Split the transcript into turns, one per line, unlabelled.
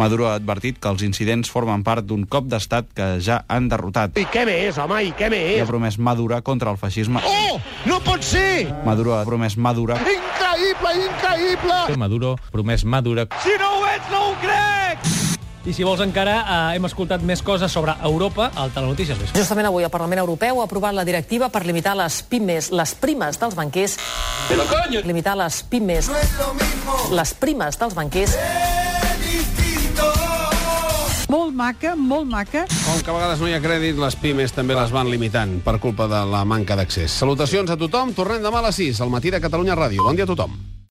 Maduro ha advertit que els incidents formen part d'un cop d'estat que ja han derrotat.
I què més, home, i
I
què
ha
més?
promès Madura contra el feixisme.
Oh, no pot ser!
Maduro ha promès Madura
Increïble, increïble!
Maduro, promès Madura.
Si no ho ets, no ho crec!
I si vols encara, eh, hem escoltat més coses sobre Europa al Telenotícies Vespre.
Justament avui el Parlament Europeu ha aprovat la directiva per limitar les pimes, les primes dels banquers... Limitar les pimes, les primes dels banquers...
Molt maca, molt maca.
Com que a vegades no hi ha crèdit, les pimes també les van limitant per culpa de la manca d'accés. Salutacions a tothom, tornem demà a les 6 al matí de Catalunya Ràdio. Bon dia a tothom.